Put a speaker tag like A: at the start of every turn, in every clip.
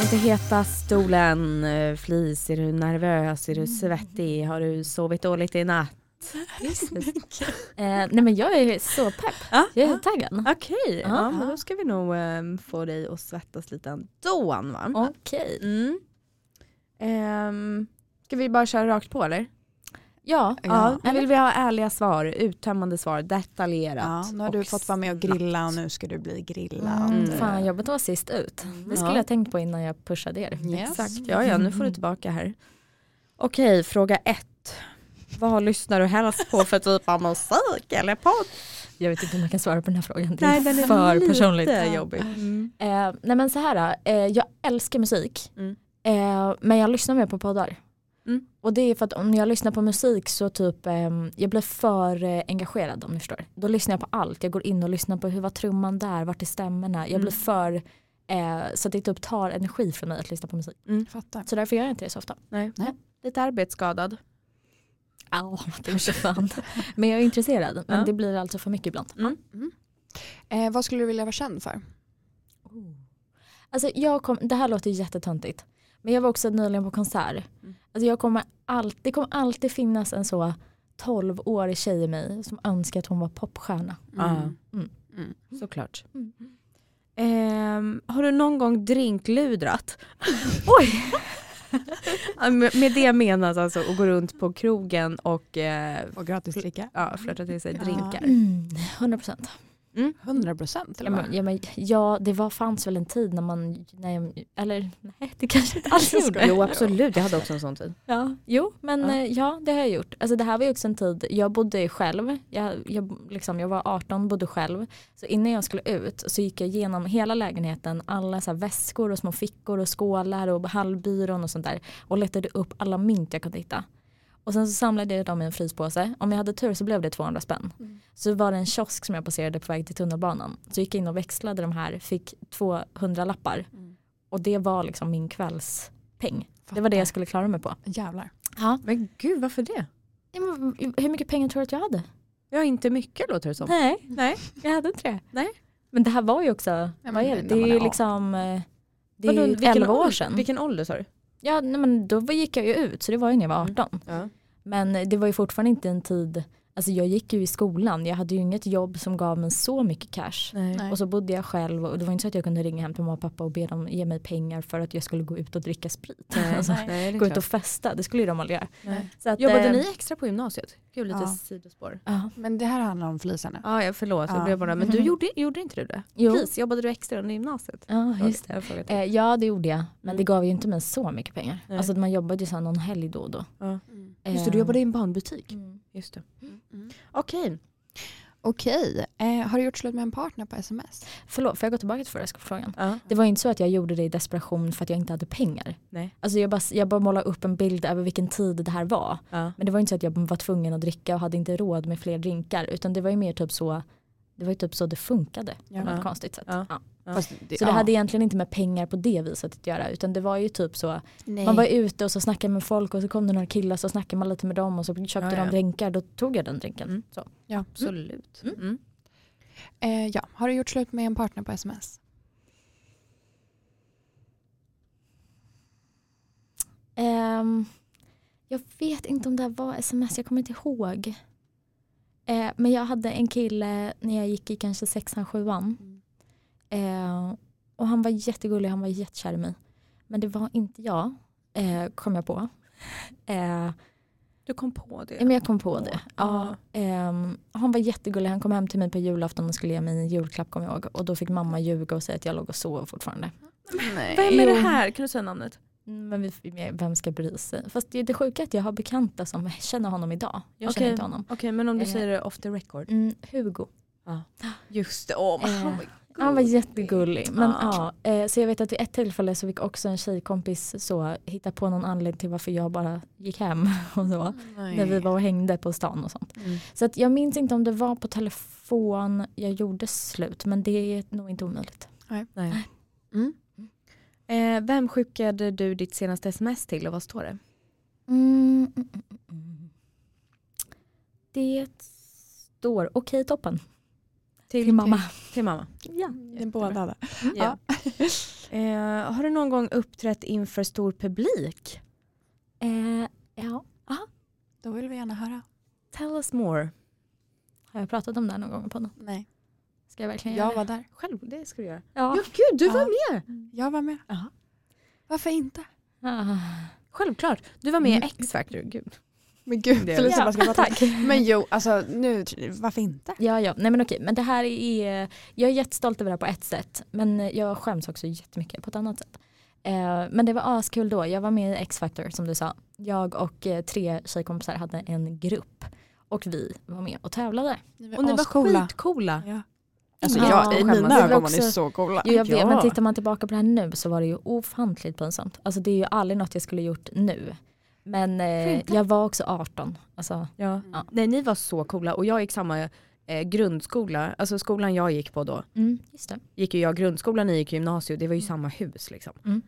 A: lite heta stolen, eh, flis, är du nervös, är du svettig, har du sovit dåligt i natt?
B: Eh, nej men jag är så pepp.
A: Ja, Mm.
B: Jag är taggad.
A: Okej, ja,
B: Ja.
A: men då ska vi nog eh, få dig att svettas lite ändå Anvan.
B: Okej.
A: Mm.
C: Ehm, ska vi bara köra rakt på eller?
B: Ja.
C: Ja,
B: eller?
C: vill vi ha ärliga svar, uttömmande svar,
D: Ja,
C: detaljerat.
D: nu har du
C: och
D: fått vara med och grilla och nu ska du bli grillad.
B: Mm.
A: Mm.
B: Fan jobbet var sist ut. Det skulle
A: Ja.
B: jag tänkt på innan jag pushade er.
D: Yes.
A: Exakt, ja, ja nu får du tillbaka här. Okej, fråga ett. Vad lyssnar du helst på för typ av musik eller podd?
B: Jag vet inte om jag kan svara på den här frågan. Det är,
A: Nej, den är
B: för
A: lite
B: personligt.
A: jobbig.
B: Eh, nej men så här, eh, jag älskar musik.
A: Mm.
B: Eh, men jag lyssnar mer på poddar.
A: Mm.
B: Och det är för att om jag lyssnar på musik så typ, ehm, jag blir för eh, engagerad om ni förstår. Då lyssnar jag på allt, jag går in och lyssnar på hur var trumman där, vart är stämmorna. Jag blir
A: Mm.
B: för, eh, så att det typ tar energi från mig att lyssna på musik.
D: Fattar.
B: Så därför gör jag inte det så ofta.
A: Nej.
D: Nej.
A: Lite arbetsskadad.
B: Au, kanske fan. men jag är intresserad, men
A: Ja.
B: det blir alltså för mycket ibland.
D: Eh, vad skulle du vilja vara känd för?
B: Alltså jag kom, det här låter ju jättetöntigt. Men jag var också nyligen på konsert. Alltså jag kommer all, det kommer alltid finnas en så 12-årig tjej i mig som önskar att hon var popstjärna.
A: Ja.
B: Mm.
D: Mm.
A: Såklart.
B: Mm.
A: Ehm, har du någon gång drinkludrat? Oj! Ja, med med det menas alltså att gå runt på krogen och eh,
D: Och gratis dricka?
A: ja, Mm. flörta till sig
D: Ja.
A: drinkar.
B: 100 procent.
D: 100 procent
B: Ja,
D: eller vad?
B: men- ja, men, ja, det var, fanns väl en tid när man, när jag, eller nej det kanske inte alls gjorde.
A: Alltså, Jo absolut, jag hade också en sån tid.
B: Ja, jo, men
A: Ja.
B: ja. ja det har jag gjort. Alltså, det här var ju också en tid, jag bodde själv, jag, jag, liksom, jag var 18 bodde själv. Så innan jag skulle ut så gick jag igenom hela lägenheten, alla så här, väskor och små fickor och skålar och hallbyrån och sånt där. Och letade upp alla mynt jag kunde hitta. Och sen så samlade jag dem i en fryspåse. Om jag hade tur så blev det 200 spänn. Så var det en kiosk som jag passerade på väg till tunnelbanan. Så gick jag in och växlade de här, fick 200 lappar. Och det var liksom min kvällspeng. Det var det jag skulle klara mig på.
D: Jävlar.
B: Ja.
A: Men gud varför det?
B: Ja, men hur mycket pengar tror du att jag hade?
A: Ja inte mycket låter det som.
B: Nej,
A: Nej.
B: jag hade inte det.
A: Nej.
B: Men det här var ju också,
D: men
B: vad är det?
D: när
B: Det
D: man
B: är ju
D: är
B: liksom, eh, det
A: Vadå,
B: är ju
A: vilken
B: 11 år
A: ålder-
B: sedan.
A: Vilken ålder sa du?
B: Ja, nej, men då var- gick jag ju ut, så det var ju när jag var
A: Mm.
B: 18.
A: Ja.
B: Men det var ju fortfarande inte en tid, alltså jag gick ju i skolan, jag hade ju inget jobb som gav mig så mycket cash.
A: Nej.
B: Och så bodde jag själv och det var inte så att jag kunde ringa hem till mamma och pappa och be dem ge mig pengar för att jag skulle gå ut och dricka sprit. Alltså,
A: Nej, det är
B: gå
A: klart.
B: ut och festa, det skulle ju de aldrig göra.
A: Nej.
B: Så att,
A: Jobbade
B: eh,
A: ni extra på gymnasiet? Gud lite
D: Ja.
A: sidospår.
B: Ja.
D: Men det här handlar om flisarna.
A: Ja, Mm-hmm. jag förlåt, jag
D: Ja.
A: blev bara, men du
B: Mhm.
A: gjorde, gjorde inte du det?
B: Jo.
A: Precis, jobbade du extra under gymnasiet?
B: Ja, just det.
A: Jag frågar till.
B: Eh, ja det gjorde jag, men
A: Mm.
B: det gav ju inte mig så mycket pengar.
A: Nej.
B: Alltså man jobbade ju så här någon helg då och då.
D: Mm.
A: Just det, du
B: Eh,
A: jobbade i en barnbutik.
B: mm.
A: Just det.
D: Mm.
A: Okej.
D: Okej, eh, har du gjort slut med en partner på sms?
B: Förlåt, får jag gå tillbaka till förra sk- frågan?
A: Ja.
B: Det var ju inte så att jag gjorde det i desperation för att jag inte hade pengar.
A: Nej.
B: Alltså jag bara, jag bara målade upp en bild över vilken tid det här var.
A: Ja.
B: Men det var ju inte så att jag var tvungen att dricka och hade inte råd med fler drinkar. Utan det var ju mer typ så det var ju typ så det funkade på något
A: Ja. Mm.
B: konstigt sätt.
A: Ja.
B: Ja.
A: Ja.
D: Fast det,
B: Så det hade egentligen inte med pengar på det viset att göra utan det var ju typ så
D: Nej.
B: Man var ute och så snackade med folk och så kom det några killar så snackade man lite med dem och så köpte
A: Ja, ja.
B: de drinkar. Då tog jag den drinken.
A: Mm.
B: Så.
D: ja.
A: Absolut.
B: Mm.
A: Mm.
D: Eh, ja. Har du gjort slut med en partner på sms?
B: Ehm, jag vet inte om det här var sms, jag kommer inte ihåg. Eh, men jag hade en kille när jag gick i kanske sexan, sjuan. Eh, och han var jättegullig, han var jättekär i mig. Men det var inte jag, eh, kom jag på. Eh,
A: Du kom på det.
B: Ja, men jag kom på det.
A: Ja.
B: Ja, ehm, han var jättegullig, han kom hem till mig på julafton och skulle ge mig en julklapp kommer jag ihåg. Och då fick mamma ljuga och säga att jag låg och sov fortfarande.
D: Nej.
A: Vem är
B: Jo.
A: det här? Kan du säga namnet?
B: Mm, Men vi- vi- vem ska bry sig? Fast det är det sjuka att jag har bekanta som känner honom idag. Jag
A: Okej.
B: känner inte honom.
A: Okej, men om du
B: Eh.
A: säger det off the record.
B: Mm, Hugo.
A: Just det, åh, oh
B: Eh,
A: han var
B: Han var
A: gullig.
B: jättegullig. Men,
A: Ja.
B: ja. eh, så jag vet att vid ett tillfälle så fick också en tjejkompis så hitta på någon anledning till varför jag bara gick hem. Och så. När vi var och hängde på stan och sånt.
A: Mm.
B: Så att jag minns inte om det var på telefon jag gjorde slut. Men det är nog inte omöjligt.
A: Nej.
D: Mm.
A: Eh, vem skickade du ditt senaste sms till och vad står det?
B: Mm, mm, mm, mm. Det står okej toppen. Till mamma.
A: Till, till mamma.
B: Ja.
D: Ni båda.
A: Ja. Eh, har du någon gång uppträtt inför stor publik?
B: Eh, ja,
D: Då vill vi gärna höra.
A: Tell us more.
B: har jag pratat om det här någon gång på någon?
D: Nej,
B: Ska jag verkligen göra
D: jag
B: det?
D: var där.
A: Själv, det ska du göra. Ja,
B: Ja.
A: gud, du
D: Ja.
A: var med!
D: Jag var med.
A: Ja.
D: Varför inte?
B: Ah.
A: Självklart. Du var med i X-Factor. Gud.
D: Men gud,
A: Det-
D: Felicia
B: Ja,
D: bara ska prata.
B: tack.
D: Men jo, alltså nu, varför inte?
B: Ja, ja. Nej, men okej. Men det här är, jag är jättestolt över det här på ett sätt. Men jag skäms också jättemycket på ett annat sätt. Eh, men det var askul då. Jag var med i X-Factor som du sa. Jag och eh, tre tjejkompisar hade en grupp. Och vi var med och tävlade.
A: Och ni var skitcoola.
D: Ja. Alltså
B: Ja.
D: jag, i
A: Skämmas.
D: mina
A: Det
B: var
D: ögon var
B: också-
D: ni så coola.
B: Jo, jag vet,
A: Ja.
B: men tittar man tillbaka på det här nu så var det ju ofantligt pinsamt. Alltså det är ju aldrig något jag skulle gjort nu. Men
A: Varför
B: eh,
A: inte?
B: jag var också 18. Alltså,
A: Ja.
D: Mm.
A: Nej, ni var så coola och jag gick samma eh, grundskola, alltså skolan jag gick på då,
B: mm, just det.
A: gick ju jag grundskolan, ni gick gymnasiet, det var ju samma hus liksom.
B: Mm.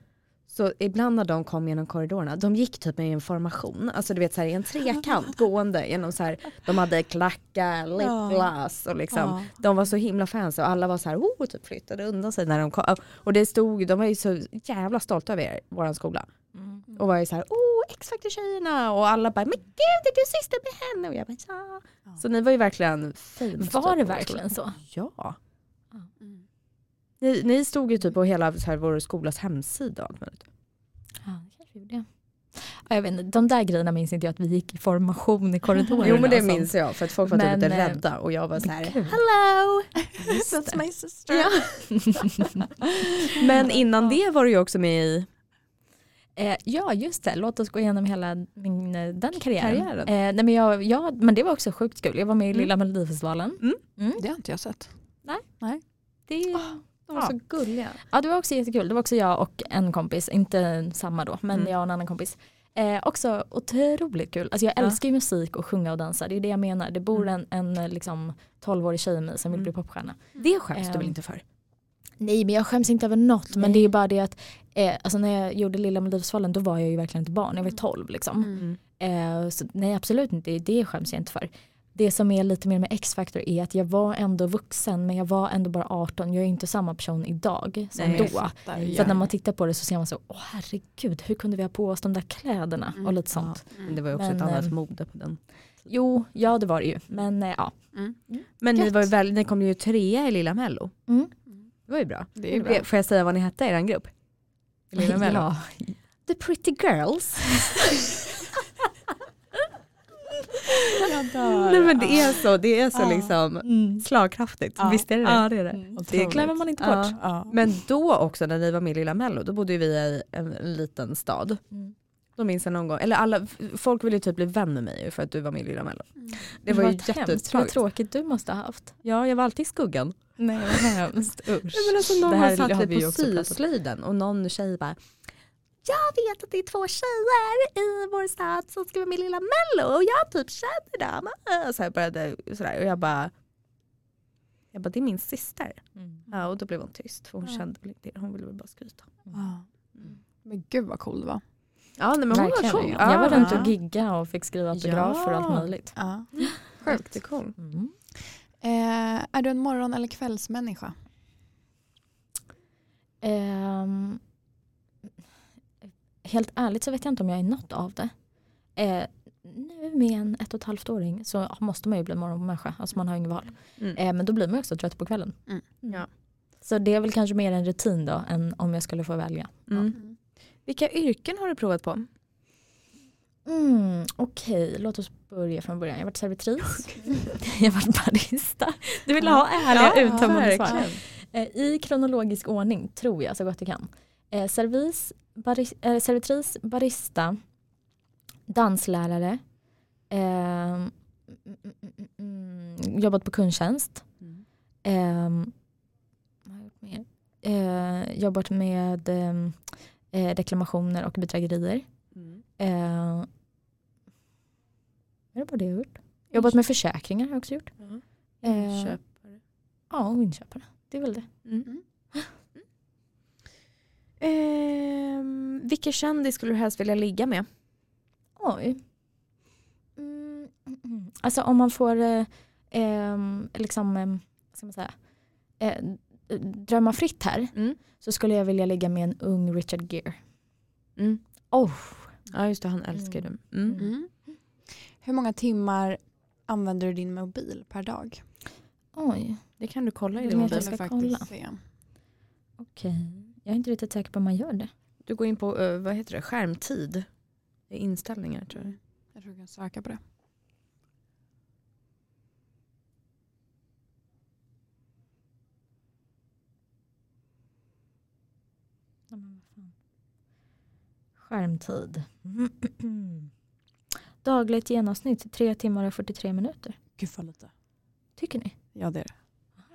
A: Så ibland när de kom genom korridorerna, de gick typ i en formation, alltså du vet så här i en trekant gående genom så här, de hade klackar,
D: Ja.
A: lipgloss och liksom
D: Ja.
A: de var så himla fans och alla var så här, oh, typ flyttade undan sig när de kom. Och det stod, de var ju så jävla stolta över er, våran skola.
B: Mm.
A: Och var ju så här, oh X-Factor-tjejerna och alla bara, men gud är du syster med henne? Och jag bara, ja.
D: Ja.
A: Så ni var ju verkligen fint.
B: Var det verkligen så?
A: Ja.
D: Mm.
A: Ni, ni stod ju typ på hela så här, vår skolas hemsida. och allt möjligt.
B: Ja, det kanske gjorde jag. Ja, jag vet inte, de där grejerna minns inte jag att vi gick i formation i korridorerna.
A: Jo men det
B: och sånt.
A: minns jag för att folk var
B: alltså. Men,
A: typ lite
B: eh,
A: rädda och jag var så här,
B: Men gud.
A: hello!
D: That's my sister.
A: Ja. Men innan det var du ju också med i
B: Eh, ja just det, låt oss gå igenom hela min, eh, den karriären.
A: Karriären.
B: Eh, nej, men, jag, jag, men det var också sjukt kul, jag var med i
A: Mm.
B: Lilla Melodifestivalen.
D: Det har inte jag sett.
B: Det,
A: De
D: var så
A: gulliga.
B: ja, det var också jättekul, det var också jag och en kompis, inte samma då, men
A: Mm.
B: jag och en annan kompis. Eh, också otroligt kul, alltså jag
A: Ja.
B: älskar ju musik och sjunga och dansa, det är det jag menar. Det bor en, en eh, liksom, 12-årig tjej i mig som vill
A: Mm.
B: bli popstjärna.
A: Det skäms du väl
B: Ehm,
A: inte för?
B: Nej men jag skäms inte över något men
A: Nej.
B: det är ju bara det att eh, alltså när jag gjorde Lilla Melodifestivalen då var jag ju verkligen ett barn, jag
A: Mm.
B: var ju 12 liksom. Eh, så, nej absolut inte, det skäms jag inte för. Det som är lite mer med X-Factor är att jag var ändå vuxen men jag var ändå bara 18, jag är ju inte samma person idag som
A: Nej.
B: då.
A: Jag
D: fattar.
B: Så att när man tittar på det så ser man så, åh herregud hur kunde vi ha på oss de där kläderna
D: Mm.
B: och lite sånt.
A: Det var ju också
B: Men,
A: ett annat
B: ehm,
A: mode på den.
B: Jo, ja det var det ju men eh, ja.
A: Men ni,
D: Gött.
A: var ju väl, ni kom ju trea i Lilla Mello.
B: Mm.
A: Det var ju bra.
D: Det är bra.
A: Får jag säga vad ni hette i er grupp? I Lilla Mello?
B: ja.
A: The Pretty Girls.
D: Jag dör.
A: Nej men det är så, det är så
D: Ja.
A: liksom slagkraftigt.
D: Ja.
A: Visst är det det?
B: Ja det är det. Det
A: Otroligt.
B: glömmer man inte
A: Ja.
B: bort.
D: Ja.
A: Men då också när ni var med i Lilla Mello, då bodde ju vi i en, en liten stad.
B: Mm.
A: Då minns jag någon gång, eller alla, folk ville ju typ bli vän med mig för att du var med i Lilla Mello. Det var ju
B: Vad hemskt, Vad
A: jättetragiskt.
B: tråkigt du måste ha haft.
A: Ja jag var alltid i skuggan.
B: Nej vad hemskt, usch.
A: Nej, men alltså någon
B: Det här
A: har
B: har
A: satt
B: vi
A: vi
B: ju
A: på
B: också pratat om.
A: syslöjden och någon tjej bara jag vet att det är två tjejer i vår stad som ska vara med i Lilla Mello och jag typ känner dem. Och så här började sådär och jag bara jag bara det är min syster.
B: Mm.
A: Ja, och då blev hon tyst för hon
D: Ja.
A: kände väl inte det. Hon ville väl bara skryta.
D: Ja. Men gud vad cool det var.
A: Ja nej, men hon
B: Verkligen.
A: var cool.
B: Jag var runt
D: ja.
B: och gigga och fick skriva autografer och
A: Ja.
B: allt möjligt.
D: Ja.
A: Sjukt cool.
B: Mm.
D: Eh, är du en morgon eller kvällsmänniska?
B: Ehm, helt ärligt så vet jag inte om jag är något av det. Eh, nu med en ett och ett halvt åring så måste man ju bli morgonmänniska, alltså man har ju inget val.
A: Mm.
B: Eh, men då blir man ju också trött på kvällen.
D: Mm.
A: Ja.
B: Så det är väl kanske mer en rutin då än om jag skulle få välja.
A: Mm. Vilka yrken har du provat på?
B: Mm, Okej, låt oss börja från början. Jag har varit servitris, jag har varit barista. Du vill ha ärliga uttömmande svar.
A: verkligen.
B: Eh, I kronologisk ordning tror jag så gott jag kan. Eh, servis, baris, eh, servitris, barista, danslärare, eh, mm, mm, mm, mm, jobbat på kundtjänst,
A: Mm.
B: eh, vad har jag gjort mer? Eh, jobbat med ehm, eh, reklamationer och bedrägerier. Eh, är det bara det jag har gjort? Jobbat med försäkringar har jag också gjort.
A: Ja.
B: Eh,
A: Köpare.
B: Ja, och inköpare. Det är väl det.
A: Mm. Ehm, vilken kändis skulle du helst vilja ligga med?
B: Oj. Mm, mm, mm. alltså om man får eh, ehm, liksom, eh, vad ska man säga, eh, eh, drömma fritt här
A: Mm.
B: så skulle jag vilja ligga med en ung Richard Gere.
A: Mm.
B: Oh,
A: Ja just det, han älskar
B: Mm.
A: det. Mm.
B: Mm.
D: Mm. Hur många timmar använder du din mobil per dag?
B: oj,
A: Det kan du kolla i
B: Vill
A: din
B: man att
A: mobil.
B: jag
D: Vill
B: ska
D: faktiskt
B: kolla.
D: se.
B: okej. Jag är inte riktigt säker på om man gör det.
A: Du går in på, eh, vad heter det, skärmtid. Det är inställningar tror jag.
D: Jag tror jag kan söka på det.
B: Ja, men vad fan. Skärmtid. Dagligt genomsnitt 3 timmar och 43 minuter.
D: Gud vad lite.
B: Tycker ni?
D: Ja det är det.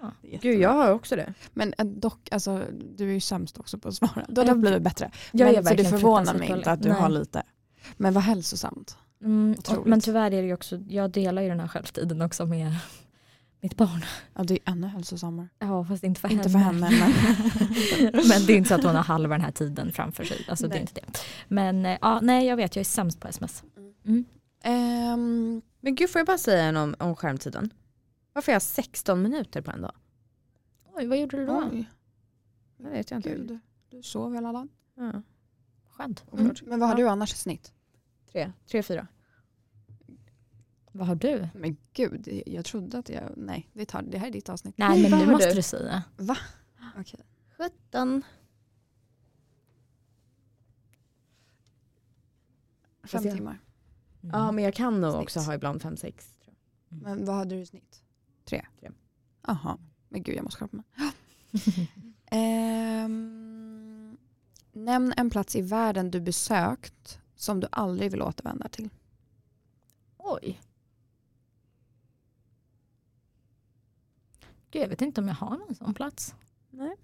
B: Ja.
D: det är
A: Gud jag har också det.
D: Men eh, dock, alltså, du är ju sämst också på att svara. Mm. Du
B: Ja.
D: har blivit bättre.
B: Jag
D: men,
B: är
D: så det
B: verkligen
D: förvånar
B: fruktansvärt
D: mig
B: dålig.
D: inte att du
B: Nej.
D: har lite. Men vad hälsosamt.
B: Mm,
D: Otroligt.
B: men tyvärr är det ju också, jag delar ju den här självtiden också med mitt barn.
D: Ja, det är ännu hälsosammare.
B: Ja fast inte för
D: Inte för
B: henne.
D: henne men.
B: men det är inte så att hon har halva den här tiden framför sig. Alltså, det är
D: Nej.
B: inte det. Men eh, ja, nej jag vet, jag är sämst på sms. Mm.
D: Ehm,
A: Men gud får jag bara säga en om, om skärmtiden? Varför har jag 16 minuter på en dag?
B: Oj vad gjorde du då?
D: oj,
A: Det vet jag inte.
D: gud. Du sov hela dagen.
A: Ja.
B: Skönt.
A: Mm.
D: Men vad har
A: Ja.
D: du annars i snitt?
A: Tre, tre, fyra.
B: Vad har du?
D: Men gud, jag trodde att jag... Nej, det, tar, det här är ditt avsnitt.
B: Nej men
A: vad
B: nu
A: har
B: måste
A: du?
B: du säga.
D: Okej.
A: 17.
D: Fem
A: jag-
D: timmar.
B: Mm.
A: Ja men jag kan nog också
D: Snitt.
A: ha ibland fem, sex. tror
D: Men vad hade du i snitt? Tre?
A: Tre.
D: Jaha. Men gud, jag måste skärpa mig. Ehm, nämn en plats i världen du besökt som du aldrig vill återvända till.
B: Oj. Gud, jag vet inte om jag har någon sån plats.
A: Nej.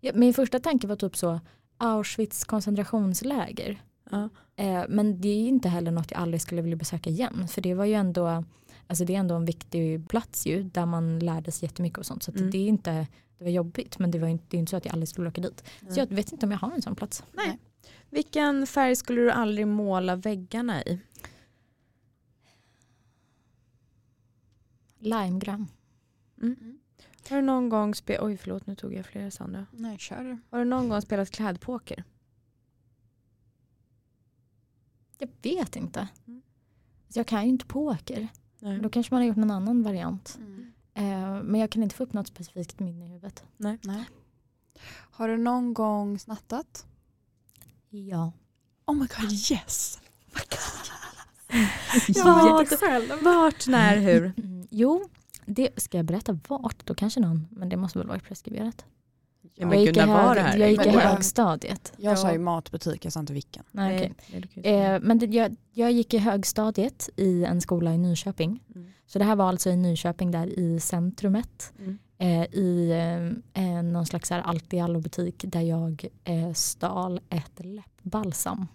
B: Ja, min första tanke var typ så Auschwitz koncentrationsläger.
A: Ja.
B: Eh, men det är inte heller något jag aldrig skulle vilja besöka igen. För det var ju ändå, alltså det är ändå en viktig plats ju där man lärde sig jättemycket och sånt. Så att
A: Mm.
B: det är inte, det var jobbigt men det var ju inte, det är inte så att jag aldrig skulle åka dit.
A: Nej.
B: Så jag vet inte om jag har en sån plats.
A: Vilken färg skulle du aldrig måla väggarna i?
B: Limegram.
D: Mm.
A: Har du någon gång spelat, oj förlåt nu tog jag flera Sandra.
D: Nej, kör.
A: Har du någon gång spelat klädpoker?
B: Jag vet inte.
A: Mm.
B: Så jag kan ju inte poker.
A: Nej.
B: Då kanske man har gjort någon annan variant.
D: Mm.
B: Eh, men jag kan inte få upp något specifikt minne i huvudet.
D: Nej. Har du någon gång snattat?
B: Ja.
D: Oh my god, Oh yes!
A: Vart,
E: själv.
A: vart, när, hur?
B: Mm, jo, det ska jag berätta vart? Då kanske någon, men det måste väl vara preskriberat.
A: Ja,
B: jag gick, i,
A: var
B: hög,
A: det här?
B: jag gick i
D: Men det var-
B: högstadiet.
D: Jag
A: Ja.
D: sa ju matbutik, jag sa inte vilken.
B: Nej, okej.
A: det är okej.
B: Eh, men det, jag, jag gick i högstadiet i en skola i Nyköping.
A: Mm.
B: Så det här var alltså i Nyköping där i centrumet.
A: Mm.
B: Eh, I eh, eh, någon slags så här allt i allo butik där jag eh, stal ett läppbalsam.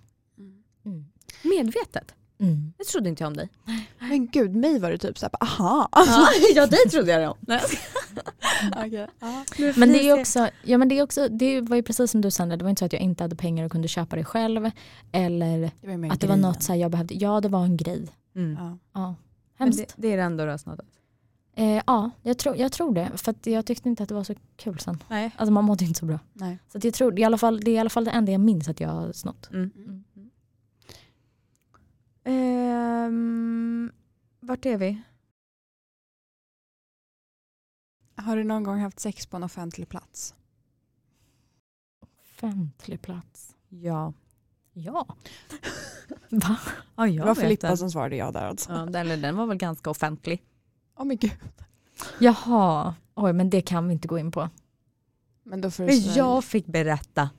B: Mm.
A: Medvetet?
B: Mm.
A: Det trodde inte jag om dig.
D: Men gud, mig var det typ såhär, aha.
A: ja dig trodde jag det om. Nej.
D: okay. ja.
B: Men det är också, ja men det är också, det var ju precis som du Sandra, det var inte så att jag inte hade pengar och kunde köpa det själv. Eller
D: Det var ju mer
B: att det var
D: grejen.
B: något så här jag behövde, ja det var en grej.
A: Mm.
D: Ja.
B: Ja,
A: Men
B: hemskt.
A: det, det är det enda du har snattat?
B: Eh, ja, jag, tror jag tror det. För att jag tyckte inte att det var så kul sen.
A: Nej.
B: Alltså man mådde inte så bra.
D: Nej.
B: Så att jag tror, det är, i alla fall, det är i alla fall det enda jag minns att jag har snott.
A: Mm.
B: Mm.
A: Ehm, vart är vi?
D: Har du någon gång haft sex på en offentlig plats?
B: Offentlig plats.
A: Ja.
B: Ja. Va?
A: Ja, jag
D: det var
A: vet den.
D: Filippa som svarade ja där alltså.
A: Ja, den, den var väl ganska offentlig.
D: Åh men gud.
B: Jaha. Oj men det kan vi inte gå in på.
D: Men då får du
A: Men
D: svälja.
A: jag fick berätta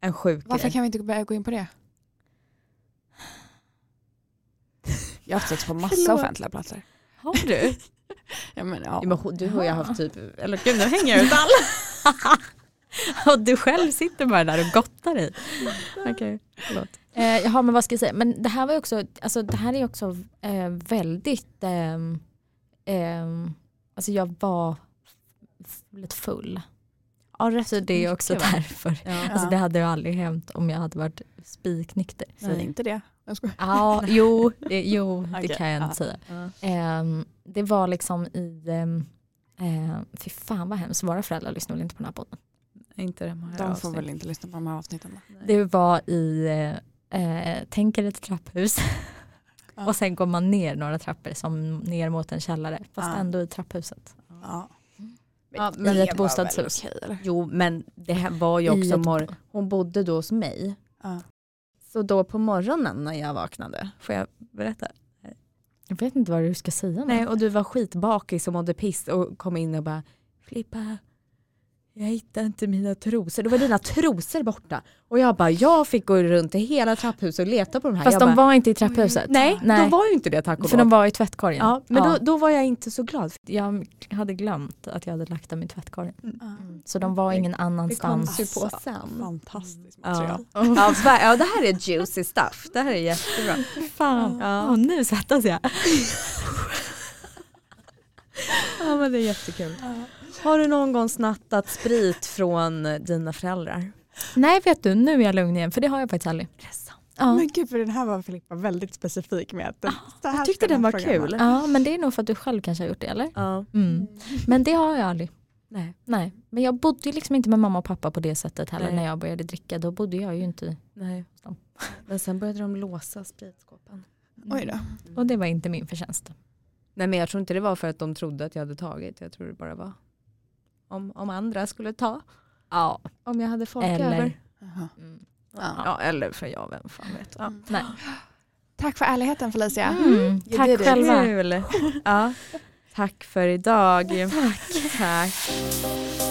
A: en sjuk
D: Varför
A: grej.
D: kan vi inte börja gå in på det? Jag har haft sex på massa
B: Förlåt.
D: offentliga platser.
B: Har du?
D: Ja, men,
A: Ja,
D: ja.
A: men hon- du har ju
B: Jaha.
A: haft typ, eller gud nu hänger jag ut alla.
B: och du själv sitter bara där och gottar dig.
A: Okej, förlåt.
B: Eh, jaha men vad ska jag säga, men det här var ju också, alltså det här är också eh, väldigt, ehm, ehm, alltså jag var f- lite full.
A: Ja, rätt
B: Så det är också
A: mycket, va?
B: därför.
A: Ja.
B: Alltså det hade ju aldrig hänt om jag hade varit spiknykter.
D: Säg inte det. Jag skojar.
B: Ja, jo, det, jo, det
D: Okej,
B: kan jag
D: ja.
B: inte säga.
A: Ja.
B: Ehm, det var liksom i, ehm, Eh, fy fan vad hemskt, våra föräldrar lyssnar väl inte på den här podden.
F: Inte de här
D: De får väl
F: avsnitten.
D: inte lyssna på de här avsnitten.
B: Det var i, eh, eh, tänk er ett trapphus
D: Ja.
B: och sen går man ner några trappor som ner mot en källare fast
D: Ja.
B: ändå i trapphuset.
D: Ja.
B: Ja, men i ett bostadshus.
A: Jo men det här var ju också
B: ett-
A: morgon. Hon bodde då hos mig.
D: Ja.
A: Så då på morgonen när jag vaknade, får jag berätta?
B: Jag vet inte vad du ska säga.
A: Nej och du var skitbakis och mådde piss och kom in och bara Filippa, jag hittar inte mina trosor. Då var dina trosor borta. Och jag bara, jag fick gå runt i hela trapphuset och leta på de här.
B: Fast
A: jag
B: de
A: bara,
B: var inte i trapphuset.
A: Nej,
B: Nej.
A: då var ju inte det tack och
B: För
A: lov.
B: de var i tvättkorgen.
A: Ja, men
B: Ja.
A: Då, då var jag inte så glad.
B: Jag hade glömt att jag hade lagt dem i tvättkorgen.
D: Ja.
B: Så de var
A: Det-
B: ingen
A: Det kom
B: annanstans.
A: ju på
D: Alltså,
A: sen.
D: Fantastiskt
A: Ja.
D: material.
A: Ja, ver- ja, det här är juicy stuff. Det här är jättebra.
B: Fan,
A: Ja.
B: Åh, nu svettas jag.
A: Ja, men det är jättekul. Har du någon gång snattat sprit från dina föräldrar?
B: Nej vet du, nu är jag lugn igen för det har jag faktiskt aldrig. Ja.
D: Men gud, för den här var Filippa väldigt specifik med. Att den, så här
A: Jag tyckte
D: ska
A: den var
D: frågan
A: kul.
B: ja men det är nog för att du själv kanske har gjort det eller?
A: Ja.
B: Mm. Men det har jag aldrig.
A: Nej.
B: Nej. Men jag bodde ju liksom inte med mamma och pappa på det sättet heller
A: Nej.
B: när jag började dricka. Då bodde jag ju inte.
A: Nej. Men sen började de låsa spritskåpen.
D: Oj då.
B: Och det var inte min förtjänst.
A: Nej men jag tror inte det var för att de trodde att jag hade tagit. Jag tror det bara var om, om andra skulle ta.
B: Ja.
A: Om jag hade folk
B: Eller.
A: över.
D: Jaha.
B: Mm.
D: Ja. Mm.
A: Ja, eller för jag, vem fan vet. Ja.
B: Nej.
D: Tack för ärligheten Felicia.
B: Mm.
D: You
B: Tack
D: did it.
B: själva.
A: Kul. Ja. Tack för idag. Tack. Tack.